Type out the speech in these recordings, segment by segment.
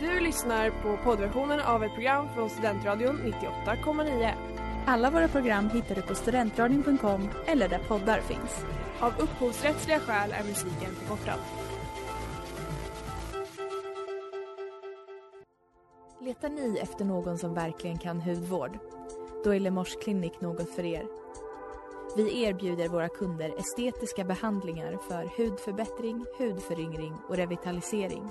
Du lyssnar på poddversionen av ett program från Studentradion 98,9. Alla våra program hittar du på studentradion.com eller där poddar finns. Av upphovsrättsliga skäl är musiken förkortad. Letar ni efter någon som verkligen kan hudvård? Då är Lemors Clinic något för er. Vi erbjuder våra kunder estetiska behandlingar för hudförbättring, hudföryngring och revitalisering.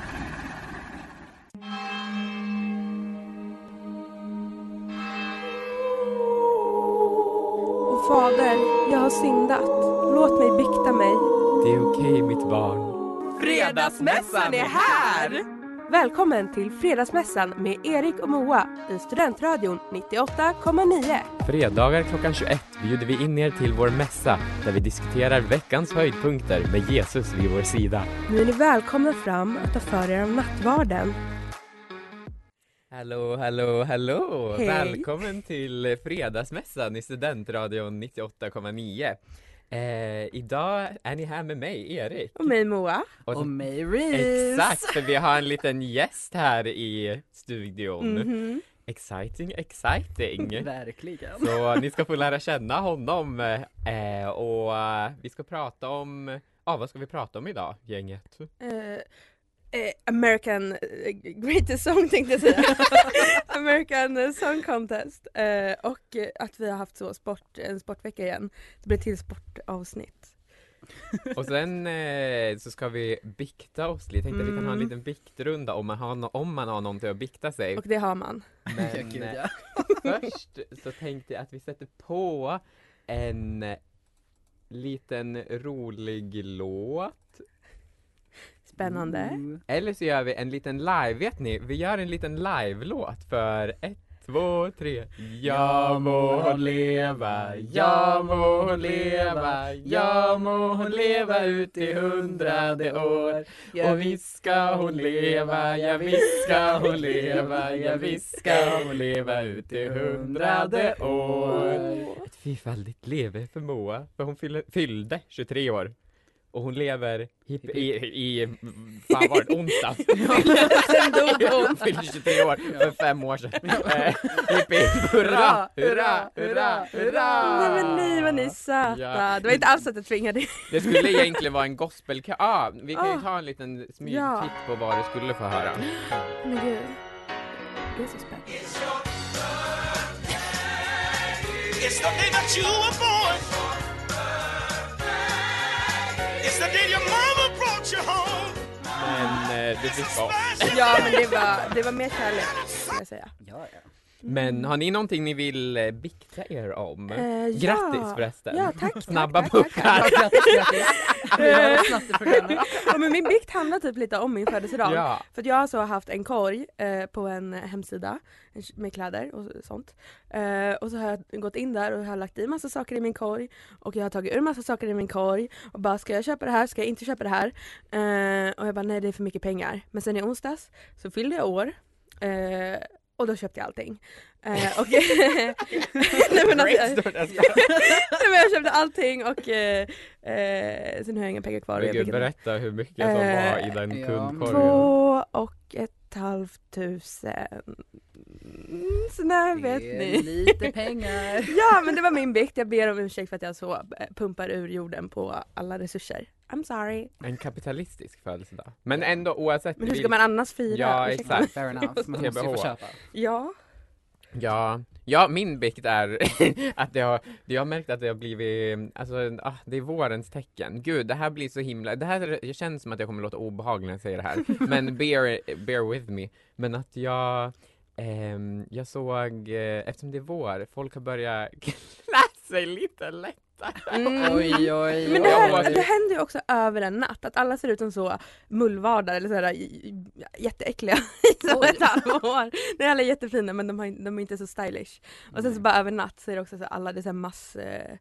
Och fader, jag har syndat. Låt mig bikta mig. Det är okej mitt barn. Fredagsmässan är här! Välkommen till Fredagsmässan med Erik och Moa i Studentradion 98,9. Fredagar klockan 21 bjuder vi in er till vår mässa där vi diskuterar veckans höjdpunkter med Jesus vid vår sida. Nu är ni välkomna fram att ta för er om nattvarden. Hallå, hallå, hallå! Hej. Välkommen till Fredagsmässan i Studentradion 98,9. Eh, idag är ni här med mig, Erik. Och mig Moa. Och- Och mig Reese! Exakt, för vi har en liten gäst här i studion. Mhm. Exciting, exciting! Verkligen. Så eh, ni ska få lära känna honom eh, och eh, vi ska prata om, ja vad ska vi prata om idag gänget? Eh, eh, American eh, Greatest Song tänkte jag säga. American eh, Song Contest. Eh, och eh, att vi har haft så sport, en sportvecka igen. Det blir ett till sportavsnitt. Och sen eh, så ska vi bikta oss lite, jag tänkte att vi kan ha en Mm. liten biktrunda om man har, no- om man har någonting att bikta sig. Och det har man. Men ja, gud, eh, ja. först så tänkte jag att vi sätter på en liten rolig låt. Spännande. Mm. Eller så gör vi en liten live, vet ni? Vi gör en liten live-låt för ett, två, tre. Jag må hon leva, jag må hon leva, jag må hon leva ut i hundrade år. Och visst ska hon leva, ja visst ska hon leva, ja visst ska hon leva ut i hundrade år. Ett fyrfaldigt leve för Moa, för hon fyllde, fyllde 23 år. Och hon lever hip, i, i, fan var det, onsdags? Sen dog Hon fyllde 23 år för fem år sedan. Eh, hipp, hipp, hurra, hurra, hurra, hurra! Nej men nej vad ni är söta. Ja. Det var inte alls att jag tvingade er. Det skulle egentligen vara en gospelkör. Ah, vi kan ju Ah. ta en liten Ja. smygtitt på vad du skulle få höra. Men gud. Det är så spännande. It's the day that you were born. It's the day your mama brought you home. Men eh, det fick vara. Special Ja men det var, det var mer kärlek skulle jag säga. Ja, ja. Men har ni någonting ni vill eh, bikta er om? Eh, ja. Grattis förresten! Ja tack. tack, Snabba tack, tack, puckar! tack. Ja, grattis, grattis! Vi har det snabbt i programmet. Ja, men min bikt handlar typ lite om min födelsedag. Ja. För att jag alltså har så haft en korg eh, på en hemsida en k- med kläder och sånt. Eh, och så har jag gått in där och har lagt i massa saker i min korg. Och jag har tagit ur massa saker i min korg. Och bara ska jag köpa det här, ska jag inte köpa det här? Eh, och jag bara nej det är för mycket pengar. Men sen i onsdags så fyllde jag år. Eh, och då köpte jag allting. Eh, och nej, men alltså, jag, Great start. nej, men jag köpte allting och eh, eh, sen har jag inga pengar kvar. och Men jag gud, fick inte- berätta hur mycket som var i den Eh, kundkorgen. Två och ett halvt tusen. Mm, Sådär vet Det ni. är lite pengar. Ja men det var min bikt, jag ber om ursäkt för att jag så eh, pumpar ur jorden på alla resurser. I'm sorry. En kapitalistisk födelsedag. Men ändå oavsett Men hur ska vilk- man annars fira? Ja, Ursäkta. exakt. Fair enough. Man måste ju få TBH. köpa. Ja. Ja, ja min bikt är att det har, det jag har märkt att det har blivit, alltså ah, det är vårens tecken. Gud, det här blir så himla, det här det känns som att jag kommer låta obehaglig när jag säger det här. Men bear, bear with me. Men att jag, ehm, jag såg, eh, eftersom det är vår, folk har börjat klä sig lite läckert. tuttar. Mm. Oj, oj, Men det, här, oj. det händer ju också över en natt, att alla ser ut som så mullvadar eller sådär j- j- jätteäckliga i så ett halvår. Nej alla är jättefina men de, har, in- de är inte så stylish. Och sen så bara över natt så är det också så att alla, det är så här mass, eh,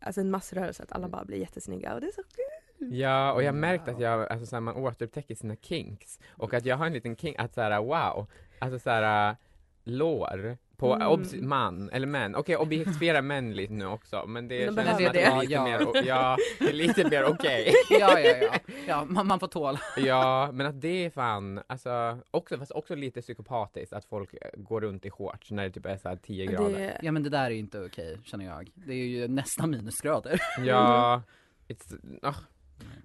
alltså en massrörelse att alla Mm. bara blir jättesnygga och det är så kul. Ja, och jag har märkt att jag, alltså, så här, man återupptäcker sina kinks. Och att jag har en liten kink, att såhär wow, alltså såhär lår på Mm. obs, man, eller män. Okej, objektifiera män lite nu också, men det De känns behöver som att det är det. lite Ja. mer, o- ja, det är lite mer okej. Ja, ja, ja. ja man, man får tåla. Ja, men att det är fan, alltså, också, fast också lite psykopatiskt att folk eh, går runt i shorts när det typ är såhär 10 grader. Det, Ja men det där är ju inte okej känner jag. Det är ju nästan minusgrader. Ja, it's, ah,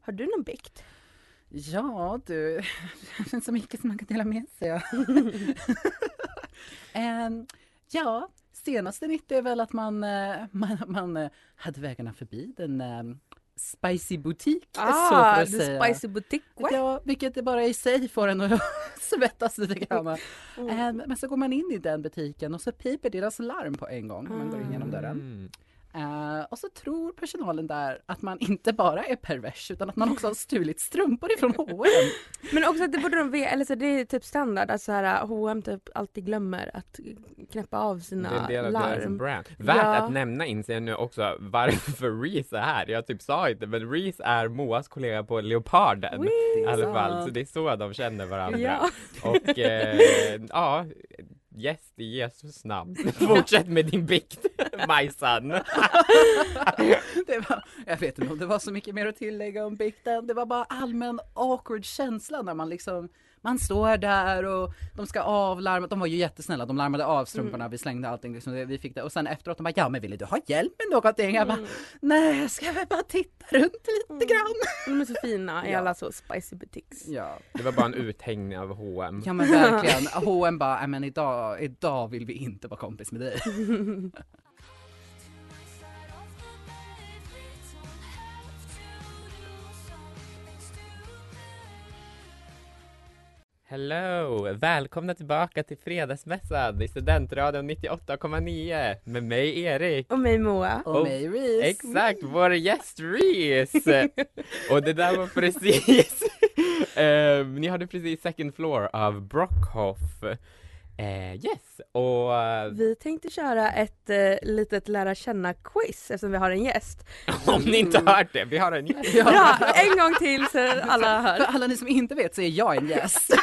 har du någon bikt? Ja du, det finns så mycket som man kan dela med sig av. Ehm, ja, senaste nytt är väl att man, eh, man, man eh, hade vägarna förbi den eh, spicy butik. Ah, the spicy boutique. Ja, vilket det bara i sig får en att svettas lite grann. Mm. Ehm, men så går man in i den butiken och så piper deras larm på en gång när man går in genom dörren. mm. Eh, och så tror personalen där att man inte bara är pervers utan att man också har stulit strumpor ifrån H&M. Men också att det borde de veta, eller så det är typ standard att så här, H&M typ alltid glömmer att knäppa av Det sina är en del av deras larm. brand. Värt Ja. att nämna inser jag nu också varför Reese är här. Jag typ sa inte, men Reese är Moas kollega på Leoparden. I alla fall, så det är så de känner varandra. Ja. Och eh, ja, gäst i Jesus namn. Fortsätt med din bikt, Majsan. Det var, jag vet inte om det var så mycket mer att tillägga om bikten. Det var bara allmän awkward känsla när man liksom man står där och de ska avlarma. De var ju jättesnälla. De larmade av strumporna. Vi slängde allting. Liksom, Det- vi fick det. Och sen efteråt de bara, ja men ville du ha hjälp med någonting? Jag bara, nej jag ska väl bara titta runt lite grann. De är så fina i Ja. alla så spicy boutiques. Ja, Det var bara en uthängning av H&M. ja men verkligen. H&M bara, "Nej, men idag, idag vill vi inte vara kompis med dig. Hello! Välkomna tillbaka till Fredagsmässan i Studentradion 98,9 med mig Erik. Och mig Moa. Och Och- mig Oh, Reese. Exakt, vår gäst Reese! Och det där var precis, eh, ni hörde precis Second Floor av Brockhoff. Eh, yes, och eh, Vi tänkte köra ett eh, litet lära känna-quiz eftersom vi har en gäst. om ni inte hört det, vi har en gäst. Bra! En gång till så alla För hör. alla ni som inte vet så är jag en gäst.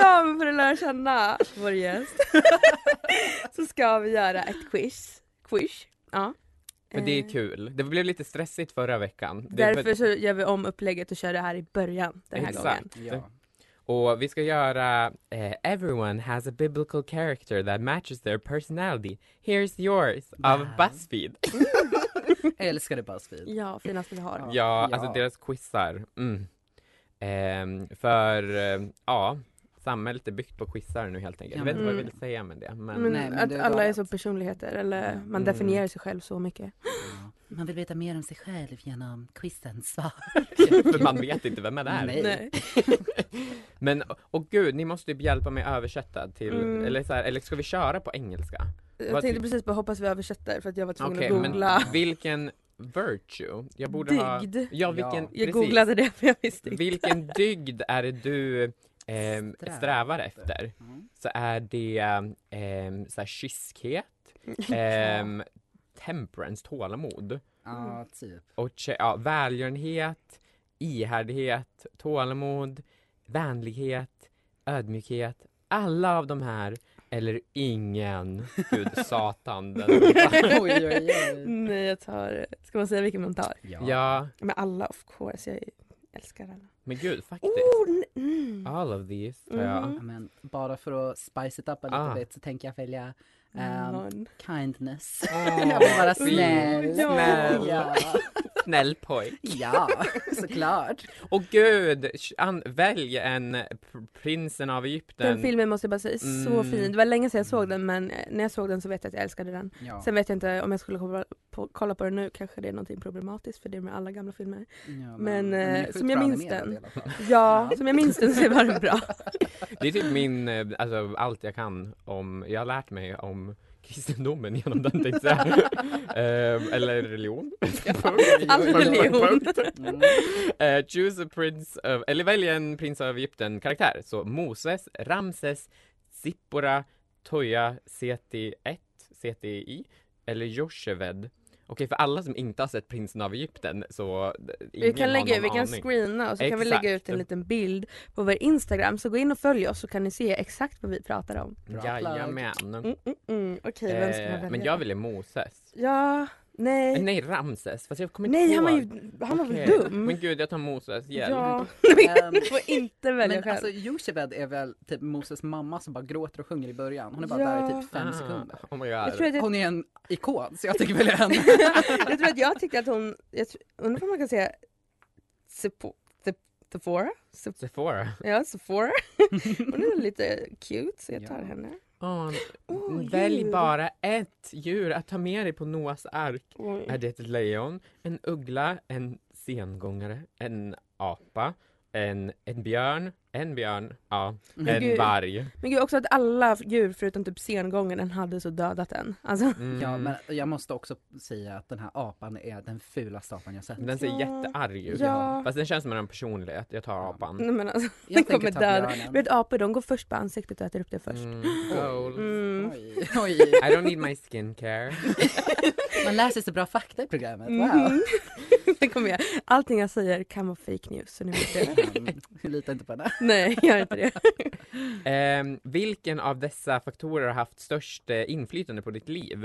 Ja, men för att lära känna vår gäst så ska vi göra ett quiz. Quiz. Ja. Men det Eh, är kul. Det blev lite stressigt förra veckan. Det är för- Därför så gör vi om upplägget och kör det här i början den här Exakt. gången. Ja. Och vi ska göra eh, Everyone has a biblical character that matches their personality. Here's yours av Wow. Buzzfeed. Jag älskar det Buzzfeed. Ja, finaste vi har. Ja. Ja, alltså deras quizar. Mm. Ehm, för, eh, ja, samhället är byggt på quizar nu helt enkelt. Ja, jag vet inte vad jag men- vill säga med det. Men, Men, Nej, men att det är alla är galet. så personligheter eller man Mm. definierar sig själv så mycket. Man vill veta mer om sig själv genom quizens svar. för man vet inte vem man är. Nej. Men, och gud, ni måste ju hjälpa mig översätta till, Mm. eller, så här, eller ska vi köra på engelska? Jag Vad tänkte ty- precis på hoppas vi översätter för att jag var tvungen Okej, att googla men vilken virtue? Jag borde ha... dygd. Ja, vilken, Jag precis. googlade det för jag visste inte. Vilken dygd är det du ehm, Strävar strävar efter? Mm. Så är det ehm, så här, kyskhet, ehm, temperance, tålamod, Ja, typ. och kä- ja, välgörenhet, ihärdighet, tålamod, vänlighet, ödmjukhet. Alla av de här, eller ingen. Gud, satan. Den. Oj, oj, oj. Nej jag tar, ska man säga vilken man tar? Ja, Men alla of course, jag älskar alla. men gud, faktiskt. Oh, n- mm. All of these, tror jag. Mhm. Men bara för att spice it up a little Ah. bit så tänker jag välja ehm, Någon. kindness. Åh, jag vill vara fint. snäll. Snäll. Ja, Snäll pojk. ja såklart. Och gud, sh- an- välj en pr- prinsen av Egypten. Den filmen måste jag bara säga, så Mm. fin. Det var länge sedan jag såg den men eh, när jag såg den så vet jag att jag älskade den. Ja. Sen vet jag inte om jag skulle kolla på, kolla på den nu, kanske det är någonting problematiskt för det är med alla gamla filmer. Ja, men, den är eh, sjukt som jag bra minns animerad den. i alla fall. Ja, som jag minns den så var den bra. Det är typ min, eh, alltså allt jag kan om, jag har lärt mig om kristendomen genom den tänkte jag säga. Ehm, Eller religion. All religion. Mm. Eh, choose a prince of, eller välj en prins av Egypten karaktär. Så Moses, Ramses, Zippora, Toja, Seti 1, CTI eller Josheved. Okej, för alla som inte har sett prinsen av Egypten så d- Vi ingen kan, har lägga, någon vi kan aning. screena och så kan vi Exakt. lägga ut en liten bild på vår Instagram. Så gå in och följ oss så kan ni se exakt vad vi pratar om. Jajamän. Mm, mm, mm. Okej, vem ska man Eh, välja? men jag ville Moses. Ja, nej. Eh, Nej, Ramses. Fast jag kommer inte nej, han var ihåg. ju han var väl Okej. dum. Men gud, jag tar Moses. Hjälp. ja. Ehm, Du får inte välja Men själv. alltså Jochebed är väl typ Moses mamma som bara gråter och sjunger i början. Hon är bara Ja. där i typ fem Ah, sekunder. Oh my god. jag, tror att jag, Hon är en ikon så jag tänker välja henne. jag tror att jag tyckte att hon, jag tr- undrar om man kan säga Sepho- Sep- Sephora? Sep- Sephora. Ja, Sephora. Hon är lite cute så jag tar Ja. henne. Åh, Åh, välj djur. bara ett djur att ta med dig på Noas ark. Oj. Är det ett lejon, en uggla, en sengångare, en apa, en, en björn, en björn, ja, en Gud. varg. Men gud också att alla djur förutom typ sengångaren hade så dödat en. Alltså, Mm. Ja, men jag måste också säga att den här apan är den fulaste apan jag sett. Den ser Ja. jättearg ut. Ja. Fast den känns som en personlighet. Jag tar apan. nej men alltså, Jag den tänker kommer ta döda. björnen. Du vet apor de går först på ansiktet och äter upp det först. Mm. Goals. Mm. Oj, oj. I don't need my skincare. Man lär sig så bra fakta i programmet. Wow. Mhm. det kommer jag. Allting jag säger kan vara fake news så ni vet det. Mm, Lita inte på henne. Nej, gör inte det. Ehm, vilken av dessa faktorer har haft störst eh, inflytande på ditt liv?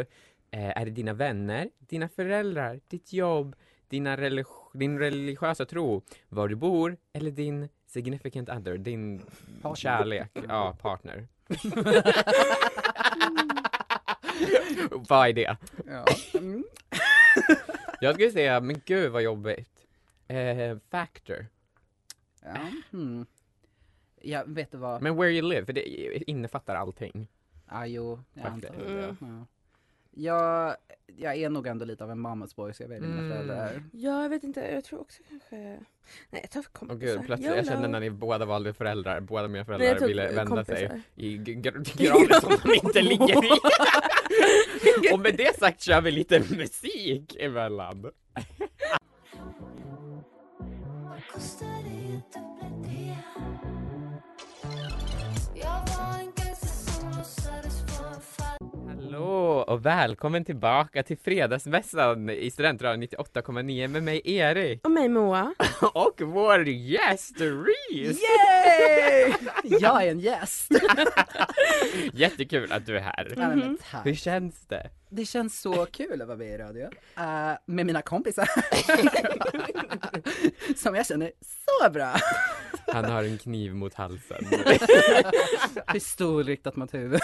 Eh, är det dina vänner, dina föräldrar, ditt jobb, dina religi- din religiösa tro, var du bor eller din significant other, din Partner. Mm. kärlek, ja partner? vad är det? Ja. Mm. Jag skulle säga, men gud vad jobbigt. Eh, factor. Ja. Mm. Jag vet du vad? Men where you live, för det innefattar allting. Ja, jo, jag Faktiskt. antar det. Ja. Jag, jag är nog ändå lite av en mammas boy så jag väljer mina Mm. föräldrar. Ja, jag vet inte, jag tror också kanske... Nej, Alltså, jag tar kompisar. Åh gud, plötsligt, jag kände när ni båda valde föräldrar, båda mina föräldrar tog ville vända sig. kompisar. i g- gr- graven som de inte ligger i. Och med det sagt kör vi lite musik emellan. Hallå och välkommen tillbaka till Fredagsmässan i Studentradion 98,9 med mig Erik Och mig Moa. och vår gäst Reese! Yay! jag är en gäst! Jättekul att du är här. Nej, men tack. Hur känns det? Det känns så kul att vara med i radio. Eh, med mina kompisar. Som jag känner så bra. Han har en kniv mot halsen. Pistol riktat mot huvudet.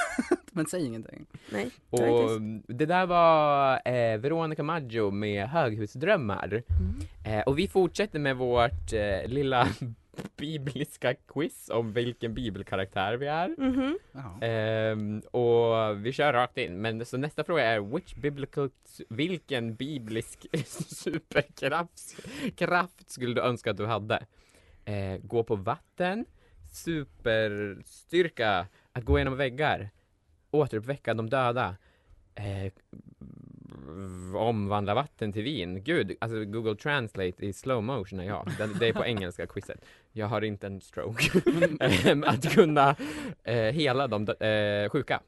Men säg ingenting. Nej, jag är Och mm, det där var eh, Veronica Maggio med Höghusdrömmar. Eh, och vi fortsätter med vårt eh, lilla bibliska quiz om vilken bibelkaraktär vi är. Mhm. Ja. Ehm, och vi kör rakt in. Men så nästa fråga är which biblical, vilken biblisk superkraft kraft skulle du önska att du hade? Eh, gå på vatten, superstyrka, att gå genom väggar, återuppväcka de döda, eh, omvandla vatten till vin. Gud, alltså Google Translate i slow motion är jag. Det, det är på engelska quizet. Jag har inte en stroke. Eh, Ehm, att kunna eh, hela de dö- eh, sjuka.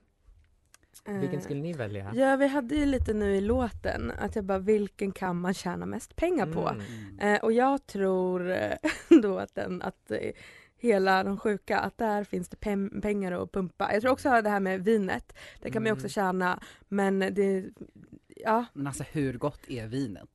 Vilken Eh, skulle ni välja? Ja, vi hade ju lite nu i låten att jag bara, vilken kan man tjäna mest pengar på? Mm. Eh, och jag tror eh, då att den, att eh, hela de sjuka, att där finns det pem- pengar att pumpa. Jag tror också det här med vinet, det kan man ju också Mm. tjäna, men det, ja, Men alltså hur gott är vinet?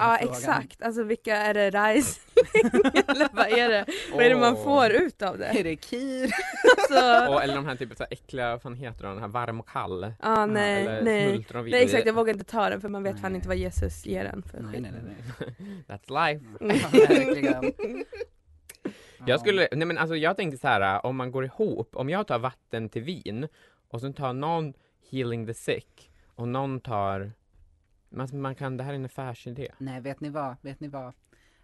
Är ja frågan. exakt. Alltså vilka, är det rice? Eller vad är det? Vad är det man Åh. får ut av det? Är det kir? Alltså, Åh, eller de här typ så här äckliga, vad fan heter de, den här varm och kall? ah, nej, eller nej. smultron och Nej exakt, jag vin. vågar inte ta den för man vet fan Nej. inte vad Jesus ger den för Nej, skit. nej, nej. nej. That's life. Ja, verkligen. Ja. Mm. Jag skulle, nej men alltså jag tänkte så här, om man går ihop, om jag tar vatten till vin och sen tar någon healing the sick och någon tar, man, man kan, det här är en affärsidé. Nej, vet ni vad? Vet ni vad?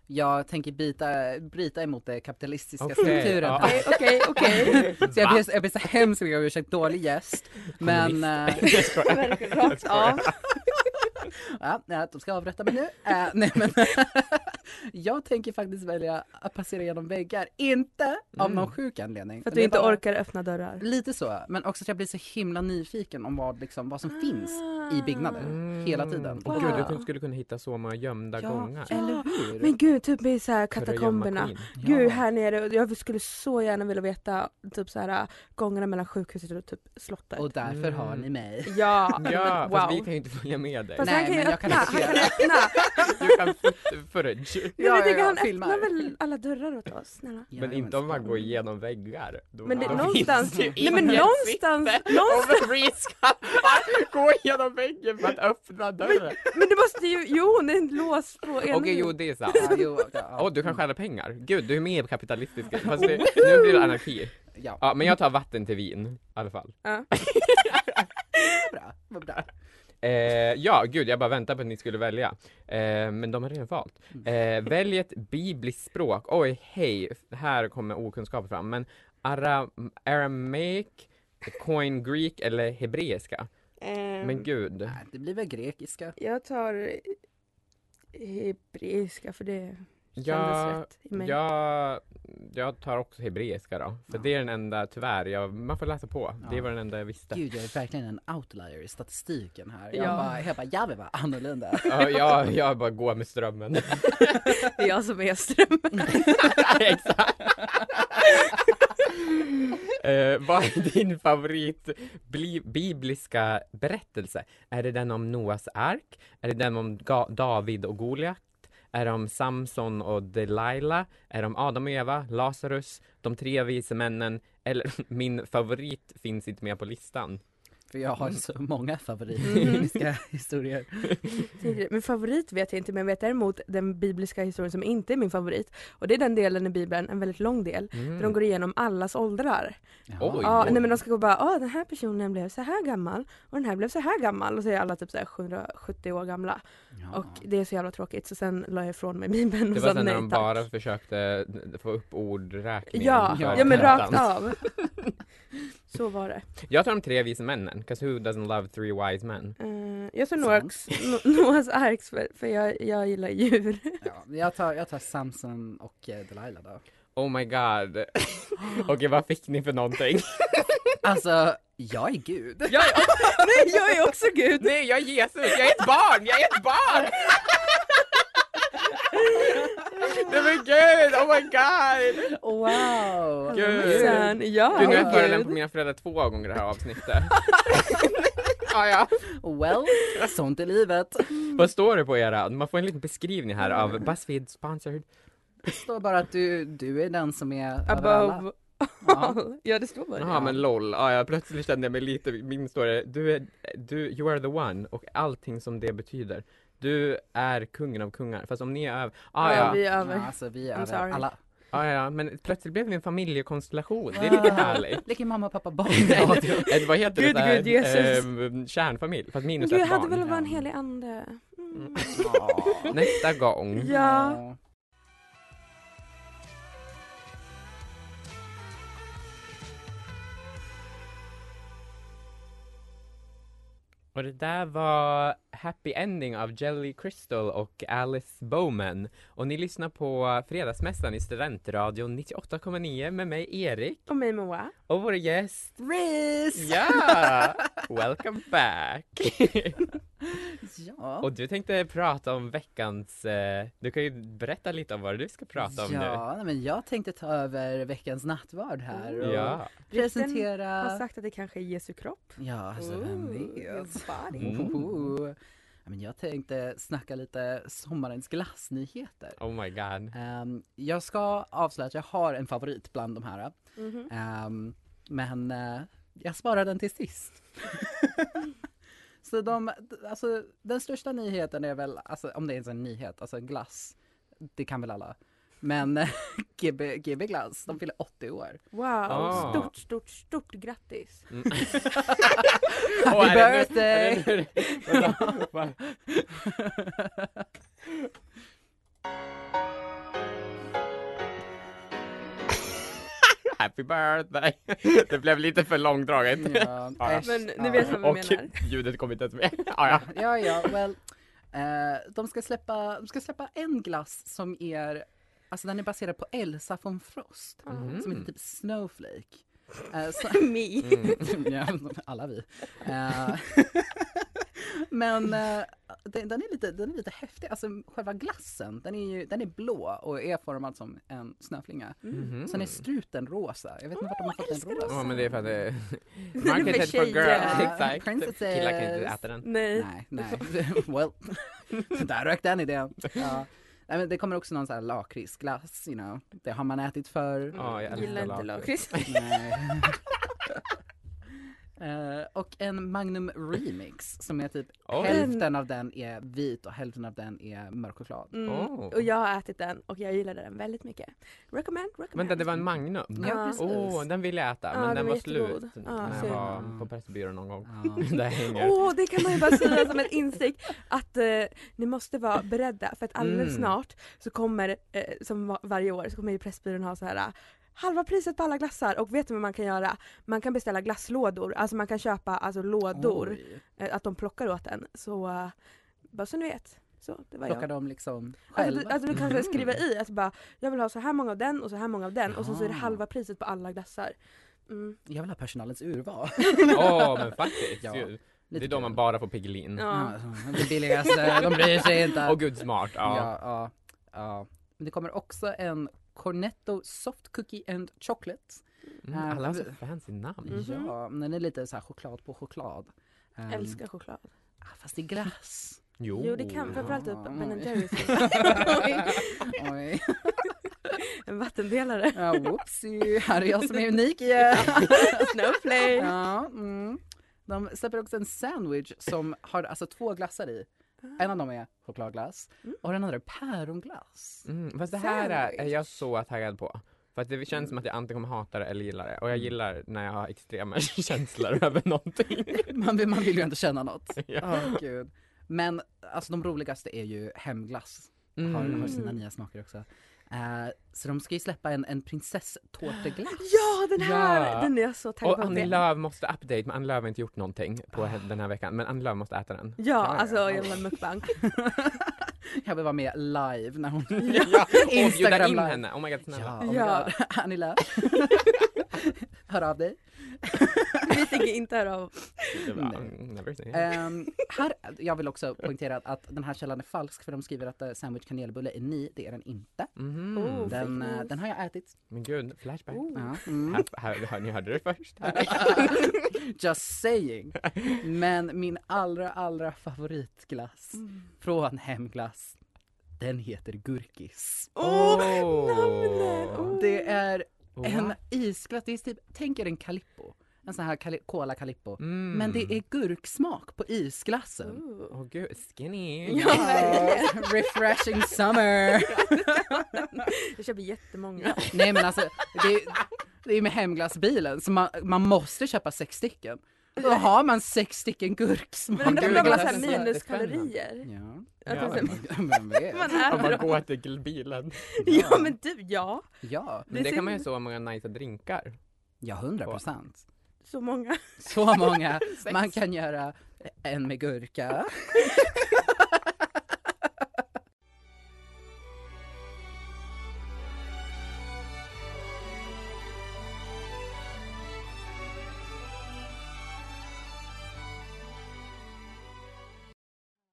jag tänker bita, bryta emot den kapitalistiska Okej, strukturen. ja. här. Okej, okej, okej. Så jag ber, jag ber så hemskt mycket om ursäkt, dålig gäst. Men eh, Jag skojar. Verkligen rakt av. Ja, nej, de ska avrätta mig nu. Eh, nej, men jag tänker faktiskt välja att passera genom väggar, inte av någon sjuk anledning. Mm. För att Det du är inte bara- orkar öppna dörrar. Lite så, men också att jag blir så himla nyfiken om vad, liksom, vad som Ah, finns i byggnader hela tiden. Åh Mm. gud, du kunde- skulle kunna hitta så många gömda gångar. ja. Eller Ah. hur? Men gud, typ i så här för att gömma katakomberna. Queen. Gud, här nere. Jag skulle så gärna vilja veta typ så här gångarna mellan sjukhuset och typ slottet. Och därför har ni mig. mm. Ja, Ja, wow. fast vi kan ju inte följa med dig. Fast Nej, han kan ju men jag kan öppna, han acceptera. kan öppna. Du kan fot- footage. Ja, men jag Ja, tänker ja, han filmar. öppnar väl alla dörrar åt oss, snälla. Men inte om man går igenom väggar. Då Men det, då någonstans, finns det nej men ingen någonstans, någonstans, Om vi ska gå igenom väggen för att öppna dörren. men det måste ju, jo, det är en lås på ena Okej, jo det är sant. Ja, jo, ja, Åh, du kan stjäla pengar. Gud, du är med i kapitalistiska. Fast det, nu blir det anarki. ja, Ja, men jag tar vatten till vin i alla fall. vad bra, vad bra. Eh, ja, gud, jag bara väntar på att ni skulle välja. Eh, men de har redan valt. Eh, välj ett bibliskt språk. Oj, hej, här kommer okunskap fram. Men ara, aramaic, coin greek eller hebreiska? Ehm, Men gud. Nej, det blir väl grekiska. Jag tar hebreiska för det kändes Jag, rätt i mig. jag, jag tar också hebreiska då. För det är den enda, tyvärr, jag, man får läsa på. Det var den enda jag visste. Gud, jag är verkligen en outlier i statistiken här. Jag Ja. bara, jag bara, jag vill vara annorlunda. Ja, jag, jag bara går med strömmen. Det är jag som är strömmen. Exakt. Eh, vad är din favorit bli- bibliska berättelse? Är det den om Noas ark? Är det den om Ga- David och Goliat? Är det om Samson och Delilah? Är det om Adam och Eva, Lazarus, de tre vise männen? Eller min favorit finns inte med på listan. För jag har så många favoritbibliska historier. Mm. Min favorit vet jag inte men jag vet däremot den bibliska historien som inte är min favorit. Och det är den delen i bibeln, en väldigt lång del, där de går igenom allas åldrar. Mm. Oj. Ja, nej men de ska gå och bara, ah, den här personen blev så här gammal och den här blev så här gammal och så är alla typ så här 770 år gamla. Ja. Och det är så jävla tråkigt så sen la jag ifrån mig bibeln och Det var sa sen när nej de tack. bara försökte få upp ordräkningen. Ja, för ja, men tävlan. rakt av. Så var det. Jag tar de tre vise männen, 'cause who doesn't love three wise men? Eh, jag sa Sant. Noaks, No- Noahs ark för, för jag, jag gillar djur. Ja, jag tar, jag tar Samson och eh, Delilah då. Oh my god. Okej, vad fick ni för någonting? Alltså, jag är gud. jag, Nej jag är också gud! nej, jag är Jesus, jag är ett barn, jag är ett barn! nej men gud, oh my god! Wow! Gud. Sen, ja, Du, nu har jag herregud. förolämpat mina föräldrar två gånger det här avsnittet. ah, ja. Well, sånt är livet. Vad står det på eran? Man får en liten beskrivning här av Buzzfeed sponsored. Det står bara att du, du är den som är över alla. above Ja. all. Ja det står bara det. Jaha men LOL, ah, ja, plötsligt kände jag mig lite, min står det, du är, du, you are the one och allting som det betyder. Du är kungen av kungar, fast om ni är över, ah, ja, ja, vi är Ja, över. alltså vi är I'm över sorry. alla. ah, ja, men plötsligt blev vi en familjekonstellation, det är lite Ah. härligt. Leker mamma och pappa barn. Eller vad heter Gud, det? såhär, gud, Jesus. ehm, kärnfamilj, fast minus Du ett hade barn. väl vara en helig ande? Mm. Nästa gång. Ja. Och det där var Happy Ending av Jelly Crystal och Alice Bowman. Och ni lyssnar på Fredagsmässan i Studentradion 98,9 med mig Erik Och mig Moa. och vår gäst Riz! Ja! Welcome back! Ja. och du tänkte prata om veckans, eh, du kan ju berätta lite om vad du ska prata om nu. Ja, nej, men jag tänkte ta över veckans nattvard här och Ja, Har presentera... sagt att det kanske är Jesu kropp. Ja, alltså vem vet? vet? Mm. Ohoho. Ja, Men jag tänkte snacka lite sommarens glassnyheter. oh my god. Ehm, jag ska avslöja att jag har en favorit bland de här. Ehm, men eh, jag sparar den till sist. så de, alltså, den största nyheten är väl, alltså, om det ens är en nyhet, alltså en glass. Det kan väl alla. Men eh, GB, GB Glass, de fyller 80 år. Wow, Ah. stort, stort, stort grattis. Happy birthday! birthday. Det blev lite för långdraget. Ja, Ja. äsch, Men ni ja. vet vad vi Och menar. ljudet kom inte ens med. Ah, Ja, ja. Ja, ja, well. Eh, de, ska släppa, de ska släppa en glass som är, alltså den är baserad på Elsa von Frost, Mm. Mm, som heter typ Snowflake. Eh, så, Me. ja, alla vi. Eh, men eh, den, den, är lite, den är lite häftig, alltså själva glassen, den är ju, den är blå och är formad som en snöflinga. mm. Sen är struten rosa, Mm. jag vet inte vart de har fått den rosa. Ja men det är för att det för Marketed for girls, tjejer. exakt. Princesses. Killar kan inte äta den. Nej. Nej, nej. well, där rök den idén. Ja. Nej, men det kommer också någon sån här lakritsglass, you know. Det har man ätit förr. Ja, jag Gillar älskar inte lakrits. lakrits. Nej. Eh, och en Magnum Remix som är typ Oj. hälften av den är vit och hälften av den är mörk choklad. Mm. Åh. Och jag har ätit den och jag gillade den väldigt mycket. Recommend, recommend. Vänta, det var en Magnum? Ja, precis. Åh, den ville jag äta, Ja, men den den var var jättegod. slut Ja, när synd. jag var på Pressbyrån någon gång. Ja. Där hänger. Åh, det kan man ju bara säga som ett insikt att eh, ni måste vara beredda för att alldeles Mm. snart så kommer, eh, som va- varje år, så kommer ju Pressbyrån ha så här eh, halva priset på alla glassar och vet du vad man kan göra? Man kan beställa glasslådor, alltså man kan köpa alltså lådor, Oj. eh, att de plockar åt en. Så eh, bara så ni vet. Så, det var Plockar jag. de liksom själva? Alltså du, alltså du kanske skriver i att bara, jag vill ha så här många av den och så här många av den och sen så är det Mm. Jaha. halva priset på alla glassar. Mm. Jag vill ha personalens urval. Åh, men faktiskt. Ja, ju. det lite är då kul. man bara får Piggelin. Åh Ja. Mm. Ja, alltså, det billigaste, de bryr sig inte. gud, smart. Ja. Ja, ja, ja. Men det kommer också en Cornetto Soft Cookie and Chocolate. Mm, alla har så fancy namn. Mm. Ja, men den är lite så här choklad på choklad. Ehm, Älskar choklad. ah, Fast det är glass. Jo det kan, framförallt typ Oh. Ja. Ben Jerrys. Oj, En vattendelare. ja, whoopsie. Här är jag som är unik igen. Snowflake. Ja, mm. De släpper också en sandwich som har alltså två glassar i. En av dem är chokladglass och den andra är päronglass. Mm, fast det här är, är Sandwich. jag så taggad på. För att det känns som att jag antingen kommer hata det eller gilla det. Och Mm. jag gillar när jag har extrema känslor över någonting. Man vill, man vill ju inte känna något. Ja. Åh, gud. Men alltså de roligaste är ju hemglass. Mm. Har, har sina nya smaker också. Eh, så de ska ju släppa en, en prinsesstårteglass. Ja den här! Ja. Den är jag så taggad Och på. att Annie se. Lööf måste update, men Annie Lööf har inte gjort någonting på he- den här veckan. Men Annie Lööf måste äta den. Ja, alltså ja. jävla mukbang. Jag vill vara med live när hon... Ja, och bjuda Instagram in live. henne. Oh my god, snälla. Ja, oh my Ja. God. Annie Lööf. Hör av dig. Vi tänker inte höra av Det var, mm, never seen. Ehm, här, jag vill också poängtera att, att den här källan är falsk för de skriver att eh, sandwich kanelbulle är ni, det är den inte. Mhm. Oh. Den, eh, news. den har jag ätit. Men gud, flashback. Ja. Mm. Här, här, hör- ni hörde det först. Här. Just saying. Men min allra, allra favoritglass från Hemglass, den heter Gurkis. Åh, namnet! Åh. Det är Wow. Oh, en isglass, det är typ, tänk er en Calippo. En sån här cali- Cola Calippo. Mm. Men det är gurksmak på isglassen. Åh gud, skinny. Oh, refreshing summer! Jag köper jättemånga. Nej men alltså, det är, det är med hemglassbilen så man, man måste köpa sex stycken. Då har man sex stycken gurksmak. Men gud, undrar om de har det såhär låter så minuskalorier. Ja. Att Ja. det är så- Vem vet? Man Om äter man dem. går till bilen. Ja men du, ja. Ja, Men det ser- kan man ju så många nice drinkar. ja hundra procent. Så många. Så många. Man kan göra en med gurka.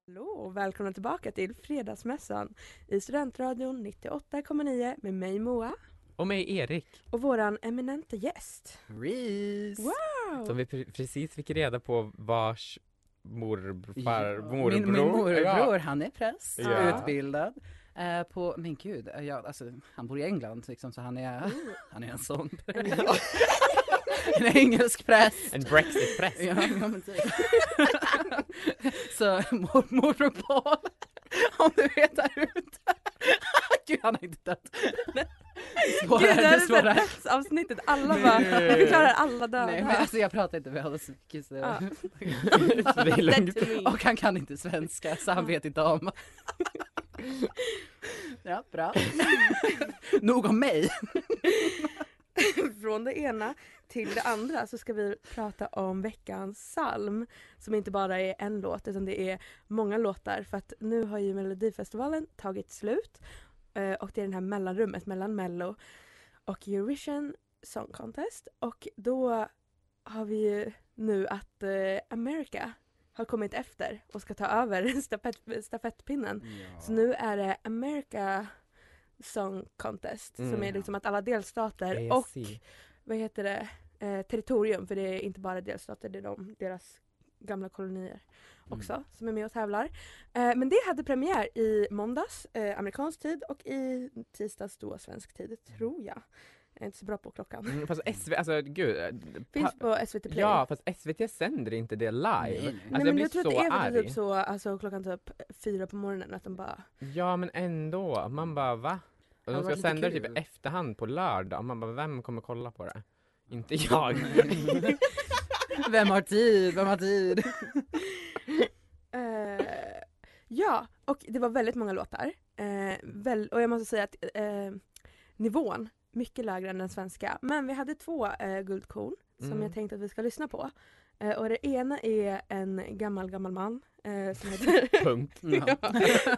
Hallå och välkomna tillbaka till Fredagsmässan i Studentradion 98,9 med mig Moa Och med Erik, och våran eminenta gäst. Reese. Wow! som vi pre- precis fick reda på vars morfar, Ja, morbror. Min, min morbror, Ja. han är präst, Ja. utbildad. eh, På, men gud, eh, ja, alltså, han bor i England liksom, så han Oh. är, han är en sån En engelsk präst. En brexit-press. Ja, ja, men typ. så mormor och Paul, om du vet där ute. Gud, han har inte dött. Gud, det Svårare, här det är så här är svårare. dödsavsnittet, alla bara, vi förklarar alla döda. Nej, men alltså jag pratar inte med honom så mycket så. Ja. Så det är lugnt. Och han kan inte svenska så han vet inte om. ja, bra. Nog om mig. från det ena till det andra så ska vi prata om veckans psalm. Som inte bara är en låt utan det är många låtar för att nu har ju Melodifestivalen tagit slut eh, och det är det här mellanrummet mellan Mello och Eurovision Song Contest och då har vi ju nu att eh, America har kommit efter och ska ta över stafett, stafettpinnen. Så nu är det America Song Contest som Mm. är liksom att alla delstater och vad heter det, eh, territorium för det är inte bara delstater, det är de, deras gamla kolonier Mm. också som är med och tävlar. Eh, men det hade premiär i måndags, eh, amerikansk tid och i tisdags då svensk tid, tror jag. Jag är inte så bra på klockan. Mm, fast SV, alltså gud. eh, Finns pa- på SVT Play. Ja, fast SVT sänder inte det live. Nej. Alltså, Nej, Nej jag men blir jag tror så att det är arg. väl typ så, alltså klockan typ fyra på morgonen att de bara Ja, men ändå. Man bara, va? Och hade de varit lite ska sända det kul. typ i efterhand på lördag. Man bara, vem kommer kolla på det? Inte Mm. jag. Vem har tid? Vem har tid? Eh, ja, och det var väldigt många låtar. Eh, väl, och jag måste säga att eh, nivån, mycket lägre än den svenska. Men vi hade två eh, guldkorn som Mm. jag tänkte att vi ska lyssna på. Eh, och det ena är en gammal, gammal man eh, som heter Punkt. Ja.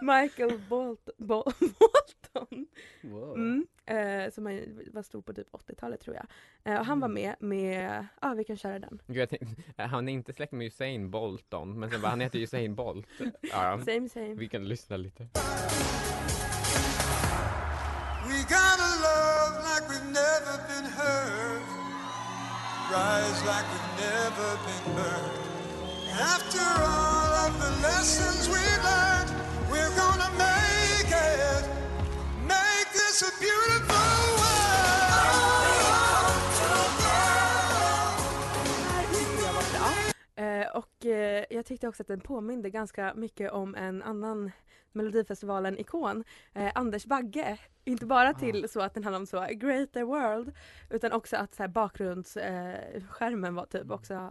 Michael Bolt- Bol- Bolton. Wow. Mm, eh, som han var stor på typ 80-talet tror jag. Eh, och han var med med, ja ah, vi kan köra den. Gud, jag tänkte, eh, han är inte släkt med Usain Bolton, men sen bara, han heter Usain Bolt. Ja, Same same. vi kan lyssna lite. We got a love like we've never been hurt. Rise like we've never been burned. After all of the lessons we learned, we're gonna make it. Make this a beautiful world. Eh, och eh, jag tyckte också att den påminde ganska mycket om en annan Melodifestivalen-ikon, eh, Anders Bagge. Inte bara Ah. till så att den handlar om så greater world, utan också att så här, bakgrundsskärmen eh, skärmen var Mm. typ också eh,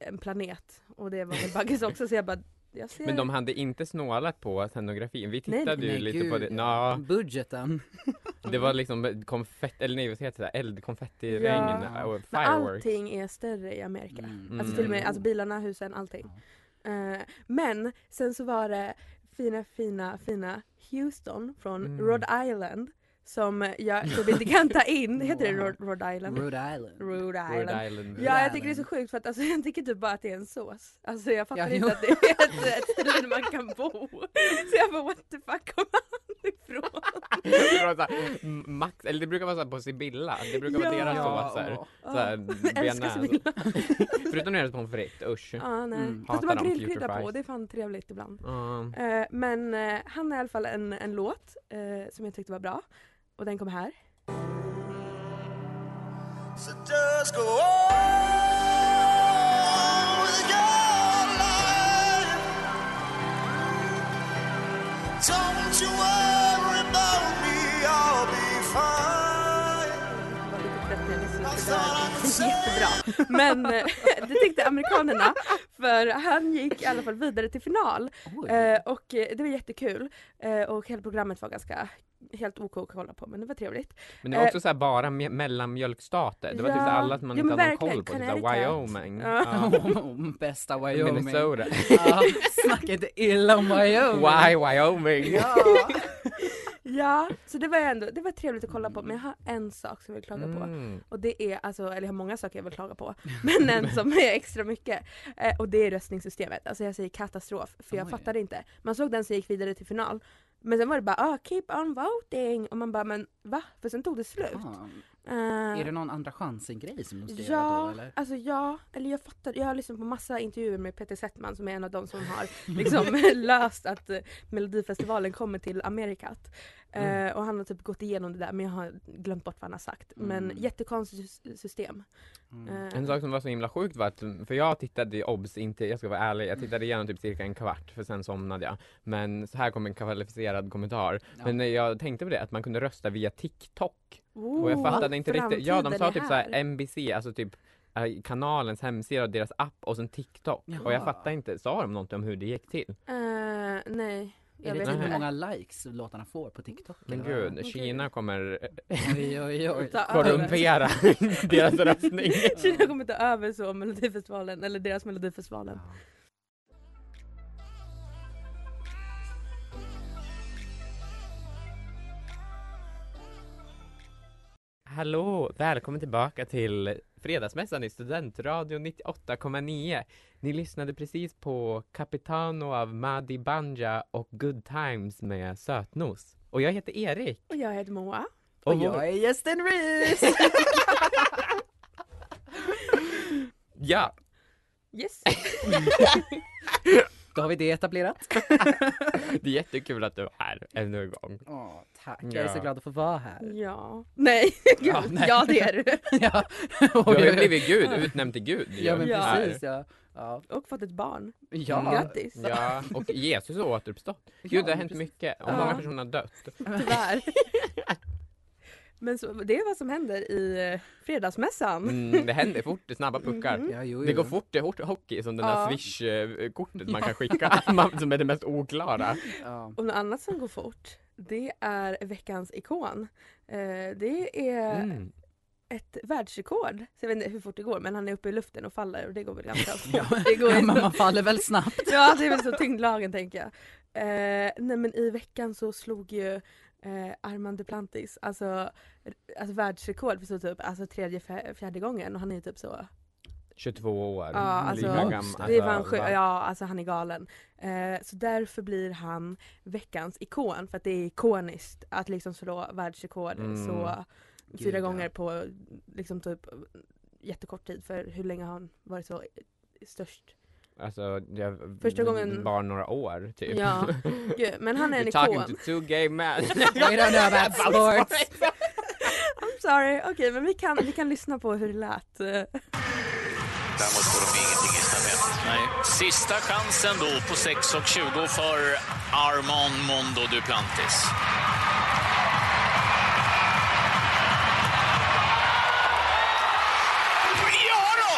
en planet. Och det var väl Bagges också, så jag bara, jag ser... Men de hade inte snålat på scenografin. Vi tittade ju Nej, lite på gud. det. Nå, Budgeten. det var liksom konfett, eller nej, vad heter det? Eldkonfettiregn Ja. och Men fireworks. allting är större i Amerika. Mm. Alltså till och med alltså bilarna, husen, allting. Eh, men sen så var det fina, fina, fina Houston från Mm. Rhode Island som jag typ inte kan ta in. Heter det Rhode, Rhode Island? Rhode Island. Rhode Island. Rhode Island. Ja, jag tycker det är så sjukt för att alltså, jag tycker typ bara att det är en sås. Alltså jag fattar Ja, inte jo. att det är ett, ett ställe där man kan bo. Så jag bara what the fuck kom han ifrån? Det var så här, m- Max, eller det brukar vara så här på Sibylla, det brukar vara Ja. deras såser. åh. Så här, Jag älskar bearnaise. Sibylla. Förutom deras pommes frites, usch. Ja, nej. Mm, Fast de har hatar dem, grillkrydda Future på Fries. det är fan trevligt ibland. Mm. Eh, men eh, han har i alla fall en, en låt eh, som jag tyckte var bra. Och den kommer här. So just go on with your life. Don't you worry about me, I'll be fine. Det var lite trött när jag lyssnade I på thought I den. could say Jättebra. Men eh, det tyckte amerikanerna. För han gick i alla fall vidare till final. Oj. Eh, och eh, det var jättekul. Eh, och hela programmet var ganska helt OK att kolla på men det var trevligt. Men det var Eh, också så här bara me- mellanmjölksstater. Det var typ ja. så här alla som man Ja, inte men hade någon verkligen. koll på. Typ så här Connecticut. Wyoming, Ja. ja. Bästa Wyoming. Minnesota. Ja, snacka inte illa om Wyoming. Why Wyoming? Ja, så det var ändå det var trevligt att kolla på men jag har en sak som jag vill klaga på. Mm. Och det är alltså, eller jag har många saker jag vill klaga på, men en som är extra mycket. Eh, och det är röstningssystemet. Alltså jag säger katastrof, för jag Oj. fattade inte. Man såg den som gick vidare till final. Men sen var det bara ah, keep on voting och man bara men va? För sen tog det slut. Ah, Eh, är det någon andra chansen-grej som de ska göra ja, då eller? alltså ja, eller jag fattar. Jag har lyssnat på massa intervjuer med Peter Settman som är en av de som har liksom löst att eh, Melodifestivalen kommer till Amerikat. Eh, Mm. och han har typ gått igenom det där men jag har glömt bort vad han har sagt. Men Mm. jättekonstigt sy- system. Eh, En sak som var så himla sjukt var att, för jag tittade ju obs inte, jag ska vara ärlig, jag tittade igenom typ cirka en kvart för sen somnade jag. Men så här kom en kvalificerad kommentar. Ja. Men eh, jag tänkte på det, att man kunde rösta via TikTok. Och Oh, jag fattade inte riktigt. Ja, de framtiden sa är typ här. såhär NBC, alltså typ eh, kanalens hemsida och deras app och sen TikTok. Och Jaha. jag fattade inte, sa de någonting om hur det gick till? Eh, nej, Jag är det vet typ inte. hur många likes låtarna får på TikTok? Men eller vad? gud, Kina kommer eh, Oj, oj, oj. Ta över. korrumpera deras röstning. Kina kommer ta över så Melodifestivalen, eller deras Melodifestivalen. Hallå, välkommen tillbaka till Fredagsmässan i Studentradion 98,9. Ni lyssnade precis på Capitano av Madi Banja och Good Times med Sötnos. Och jag heter Erik. Och jag heter Moa. Och vår- jag är gästen Reese! Ja, Yes! Då har vi det etablerat. det är jättekul att du är här ännu en gång. Åh, tack, jag är så Ja. glad att få vara här. ja. Nej, Ja, gud. nej. Ja det är du. ja. Du Och har ju jag- blivit gud, utnämnd till gud. Ja men Ja. precis, ja. Ja, Och fått ett barn. ja. Grattis. Ja, och Jesus har återuppstått. Gud, det har hänt mycket. Och Ja. många personer har dött. Tyvärr. Men så, det är vad som händer i eh, Fredagsmässan. Mm, det händer fort, det är snabba puckar. Ja, jo, jo. Det går fort, det är hårt hockey som den Mm-hmm. Ja. där swish-kortet man kan skicka, man, som är det mest oklara. Ja. Och något annat som går fort, det är veckans ikon. Eh, det är Mm. ett världsrekord. Så jag vet inte hur fort det går, men han är uppe i luften och faller och det går väl ganska fort. Ja, det går men ju man så. faller väl snabbt. ja, det är väl så tyngdlagen tänker jag. Eh, nej men i veckan så slog ju eh, Armand Duplantis, alltså, alltså världsrekord för så typ, alltså tredje, fjär- fjärde gången och han är ju typ så 22 år. Ja, alltså, Lika gam- det Det är fan alltså, sju, va? ja alltså han är galen. Eh, så därför blir han veckans ikon för att det är ikoniskt att liksom slå världsrekord Mm. så Gud, fyra ja. gånger på liksom typ jättekort tid för hur länge har han varit så störst? Alltså, jag Första gången- var några år typ. Ja, gud, men han är en You're talking ikon. to two gay men. We don't know about sports. I'm sorry, okej men vi kan, vi kan lyssna på hur det lät. Eh, Däremot får de ingenting i stafett. Nej. Sista chansen då på 6.20 för Armand Mondo Duplantis. Ja då!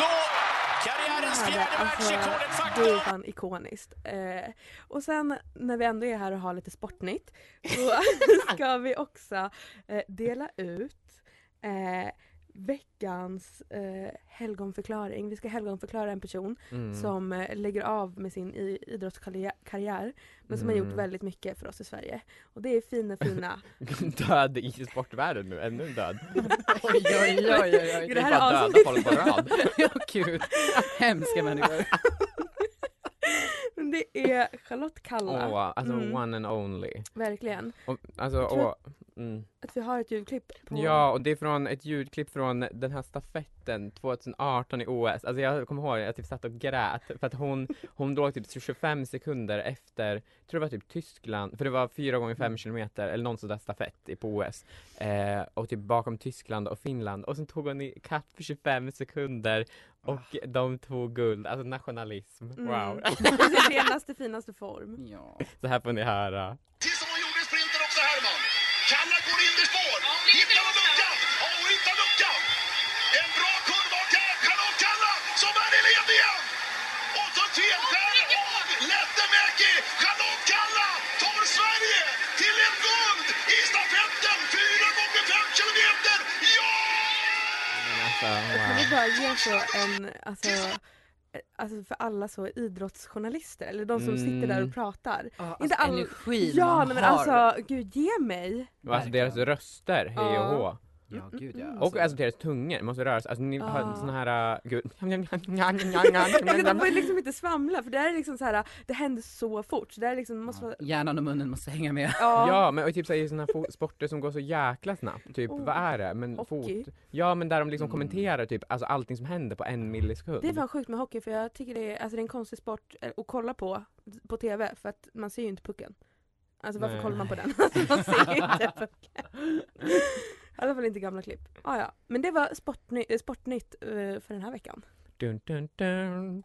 6.20! Karriärens hörde, fjärde alltså, världsrekord ett det är faktum! fan ikoniskt. Eh, och sen när vi ändå är här och har lite sportnytt så ska vi också eh, dela ut eh, veckans eh, helgonförklaring. Vi ska helgonförklara en person Mm. som eh, lägger av med sin i- idrottskarriär men som har gjort Mm. väldigt mycket för oss i Sverige. Och det är fina fina död i sportvärlden nu, ännu en död. Oj, oj, oj, oj, oj. Det här Bara är döda avsnitt- folk på rad. Ja, gud. Hemska människor. Men det är Charlotte Kalla. Åh, alltså Mm. one and only. Verkligen. Och, alltså, Jag tror åh. Mm. Att vi har ett ljudklipp på Ja, och det är från ett ljudklipp från den här stafetten 2018 i OS. Alltså jag kommer ihåg att jag typ satt och grät för att hon, hon låg typ 25 sekunder efter, jag tror det var typ Tyskland, för det var 4 gånger Mm. 5 kilometer eller någon sån där stafett i- på OS. Eh, och typ bakom Tyskland och Finland och sen tog hon i kapp för 25 sekunder och Ah. de tog guld, alltså nationalism. Mm. Wow. i sin renaste finaste form. Ja. Så här får ni höra. Precis som hon gjorde i sprinten också Herman. Kalla går in i spår. Hittar hon luckan? Ja, hon hittar luckan. En bra kurva av Ka- Charlotte Kalla som är i led igen. Och så felskär av Lättemäki. Charlotte Kalla tar Sverige till en guld i stafetten 4 gånger 5 kilometer. Ja! Alltså, Jag wow. vill bara ge så en, alltså, eh, alltså för alla så idrottsjournalister, eller de som sitter där Mm. och pratar. Ja, Inte Inte all- all... energin Ja, man nej, men har. alltså gud ge mig! Och Alltså deras röster, hej och Ja. hå. Ja, gud ja. Och alltså deras tungor måste röra sig, alltså ni har Ja. en sån här, uh, gud. Alltså, de får ju liksom inte svamla för det här är liksom så här, det händer så fort. Så det här är liksom, det måste vara, Hjärnan och munnen måste hänga med. ja. Ja men och typ såhär i såna här fo- sporter som går så jäkla snabbt, typ Oh. vad är det? Men Hockey. fot. Ja men där de liksom Mm. kommenterar typ alltså allting som händer på en millisekund. Det är fan sjukt med hockey för jag tycker det är, alltså, det är en konstig sport eh, att kolla på, på TV för att man ser ju inte pucken. Alltså varför Nej. kollar man på den? Alltså man ser ju inte pucken. I alla fall inte gamla klipp. Ah, ja. Men det var sportny- eh, sportnytt eh, för den här veckan. Dun, dun, dun.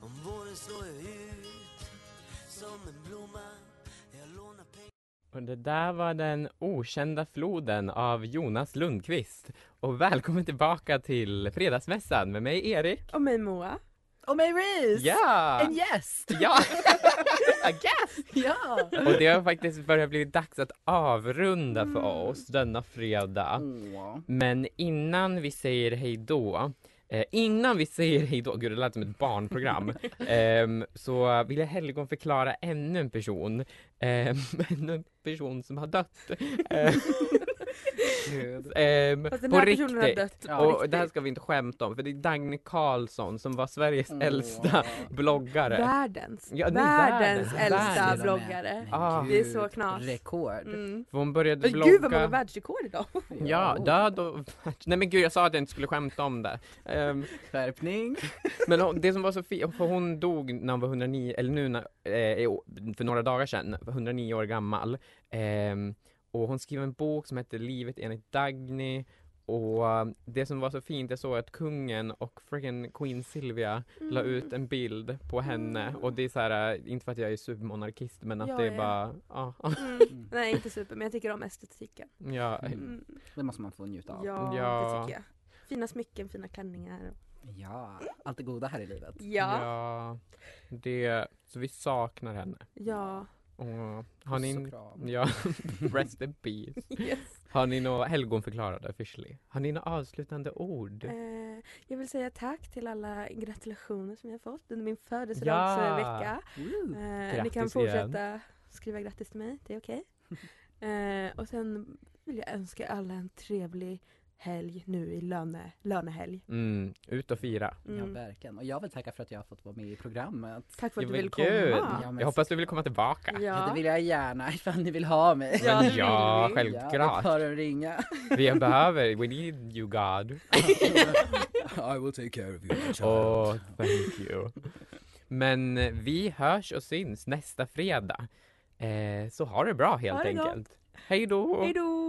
Om våren slår jag ut som en blomma Jag lånar pengar Och det där var den okända floden av Jonas Lundqvist. Och välkommen tillbaka till Fredagsmässan med mig Erik. Och mig Moa. och mig Reese! Ja! En gäst! Ja! I guess! Ja! Och det har faktiskt börjat bli dags att avrunda Mm. för oss denna fredag. Åh. Men innan vi säger hej då, eh, innan vi säger hej då, gud det lät som ett barnprogram, ehm, så vill jag helgon förklara ännu en person, ehm, ännu en person som har dött. Ehm, ehm, Fast den på här personen har riktigt. dött. Ja. på Och det här riktigt. ska vi inte skämta om för det är Dagny Carlsson som var Sveriges Åh. äldsta bloggare. Världens, Ja, nej, världens världen. äldsta Världen. bloggare. Men Ah. gud, Det är så knas. Rekord. Mm. För Hon började Men blogga. Gud vad många världsrekord idag! Ja, död och Nej men gud jag sa att jag inte skulle skämta om det. Ehm, Skärpning. Men hon- det som var så fint, för hon dog när hon var 109, eller nu när, eh, i år- för några dagar sedan, 109 år gammal. Ehm, och hon skrev en bok som hette Livet enligt Dagny. Och ehm, det som var så fint, jag såg att kungen och freaking Queen Silvia la Mm. ut en bild på henne. Och det är så här, eh, inte för att jag är supermonarkist men att Ja, det är ja. bara, ja, Mm. Nej inte super, men jag tycker om estetiken. ja, Mm. Det måste man få njuta av. Ja, Ja. det tycker jag. Fina smycken, fina klänningar. Ja, allt det goda här i livet. Ja, ja. Det, så vi saknar henne. ja. Och, har ni, Puss och en- kram. ja, rest in peace. Yes. Har ni några helgonförklarade officially? Har ni några avslutande ord? Eh, jag vill säga tack till alla gratulationer som jag fått under min Ja. födelsedagsvecka. Woo. Eh, ni kan Grattis fortsätta skriva grattis till mig, det är okej. eh, och sen vill jag önska alla en trevlig helg nu i löne, lönehelg. Mm, ut och fira. Ja, Mm. verkligen. Och jag vill tacka för att jag har fått vara med i programmet. Tack för att Ja, du men vill gud. komma. Ja, men Jag hoppas du vill komma tillbaka. Ja, Ja, det vill jag gärna ifall ni vill ha mig. Ja, det Men vill ja, vi. Ja, självklart. tar en ringa. Vi behöver, we need you God. I will take care of you. my child. Oh, thank you. Men eh, vi hörs och syns nästa fredag. Eh, så ha det bra helt Ha det gott. enkelt. Hej då! Hej då!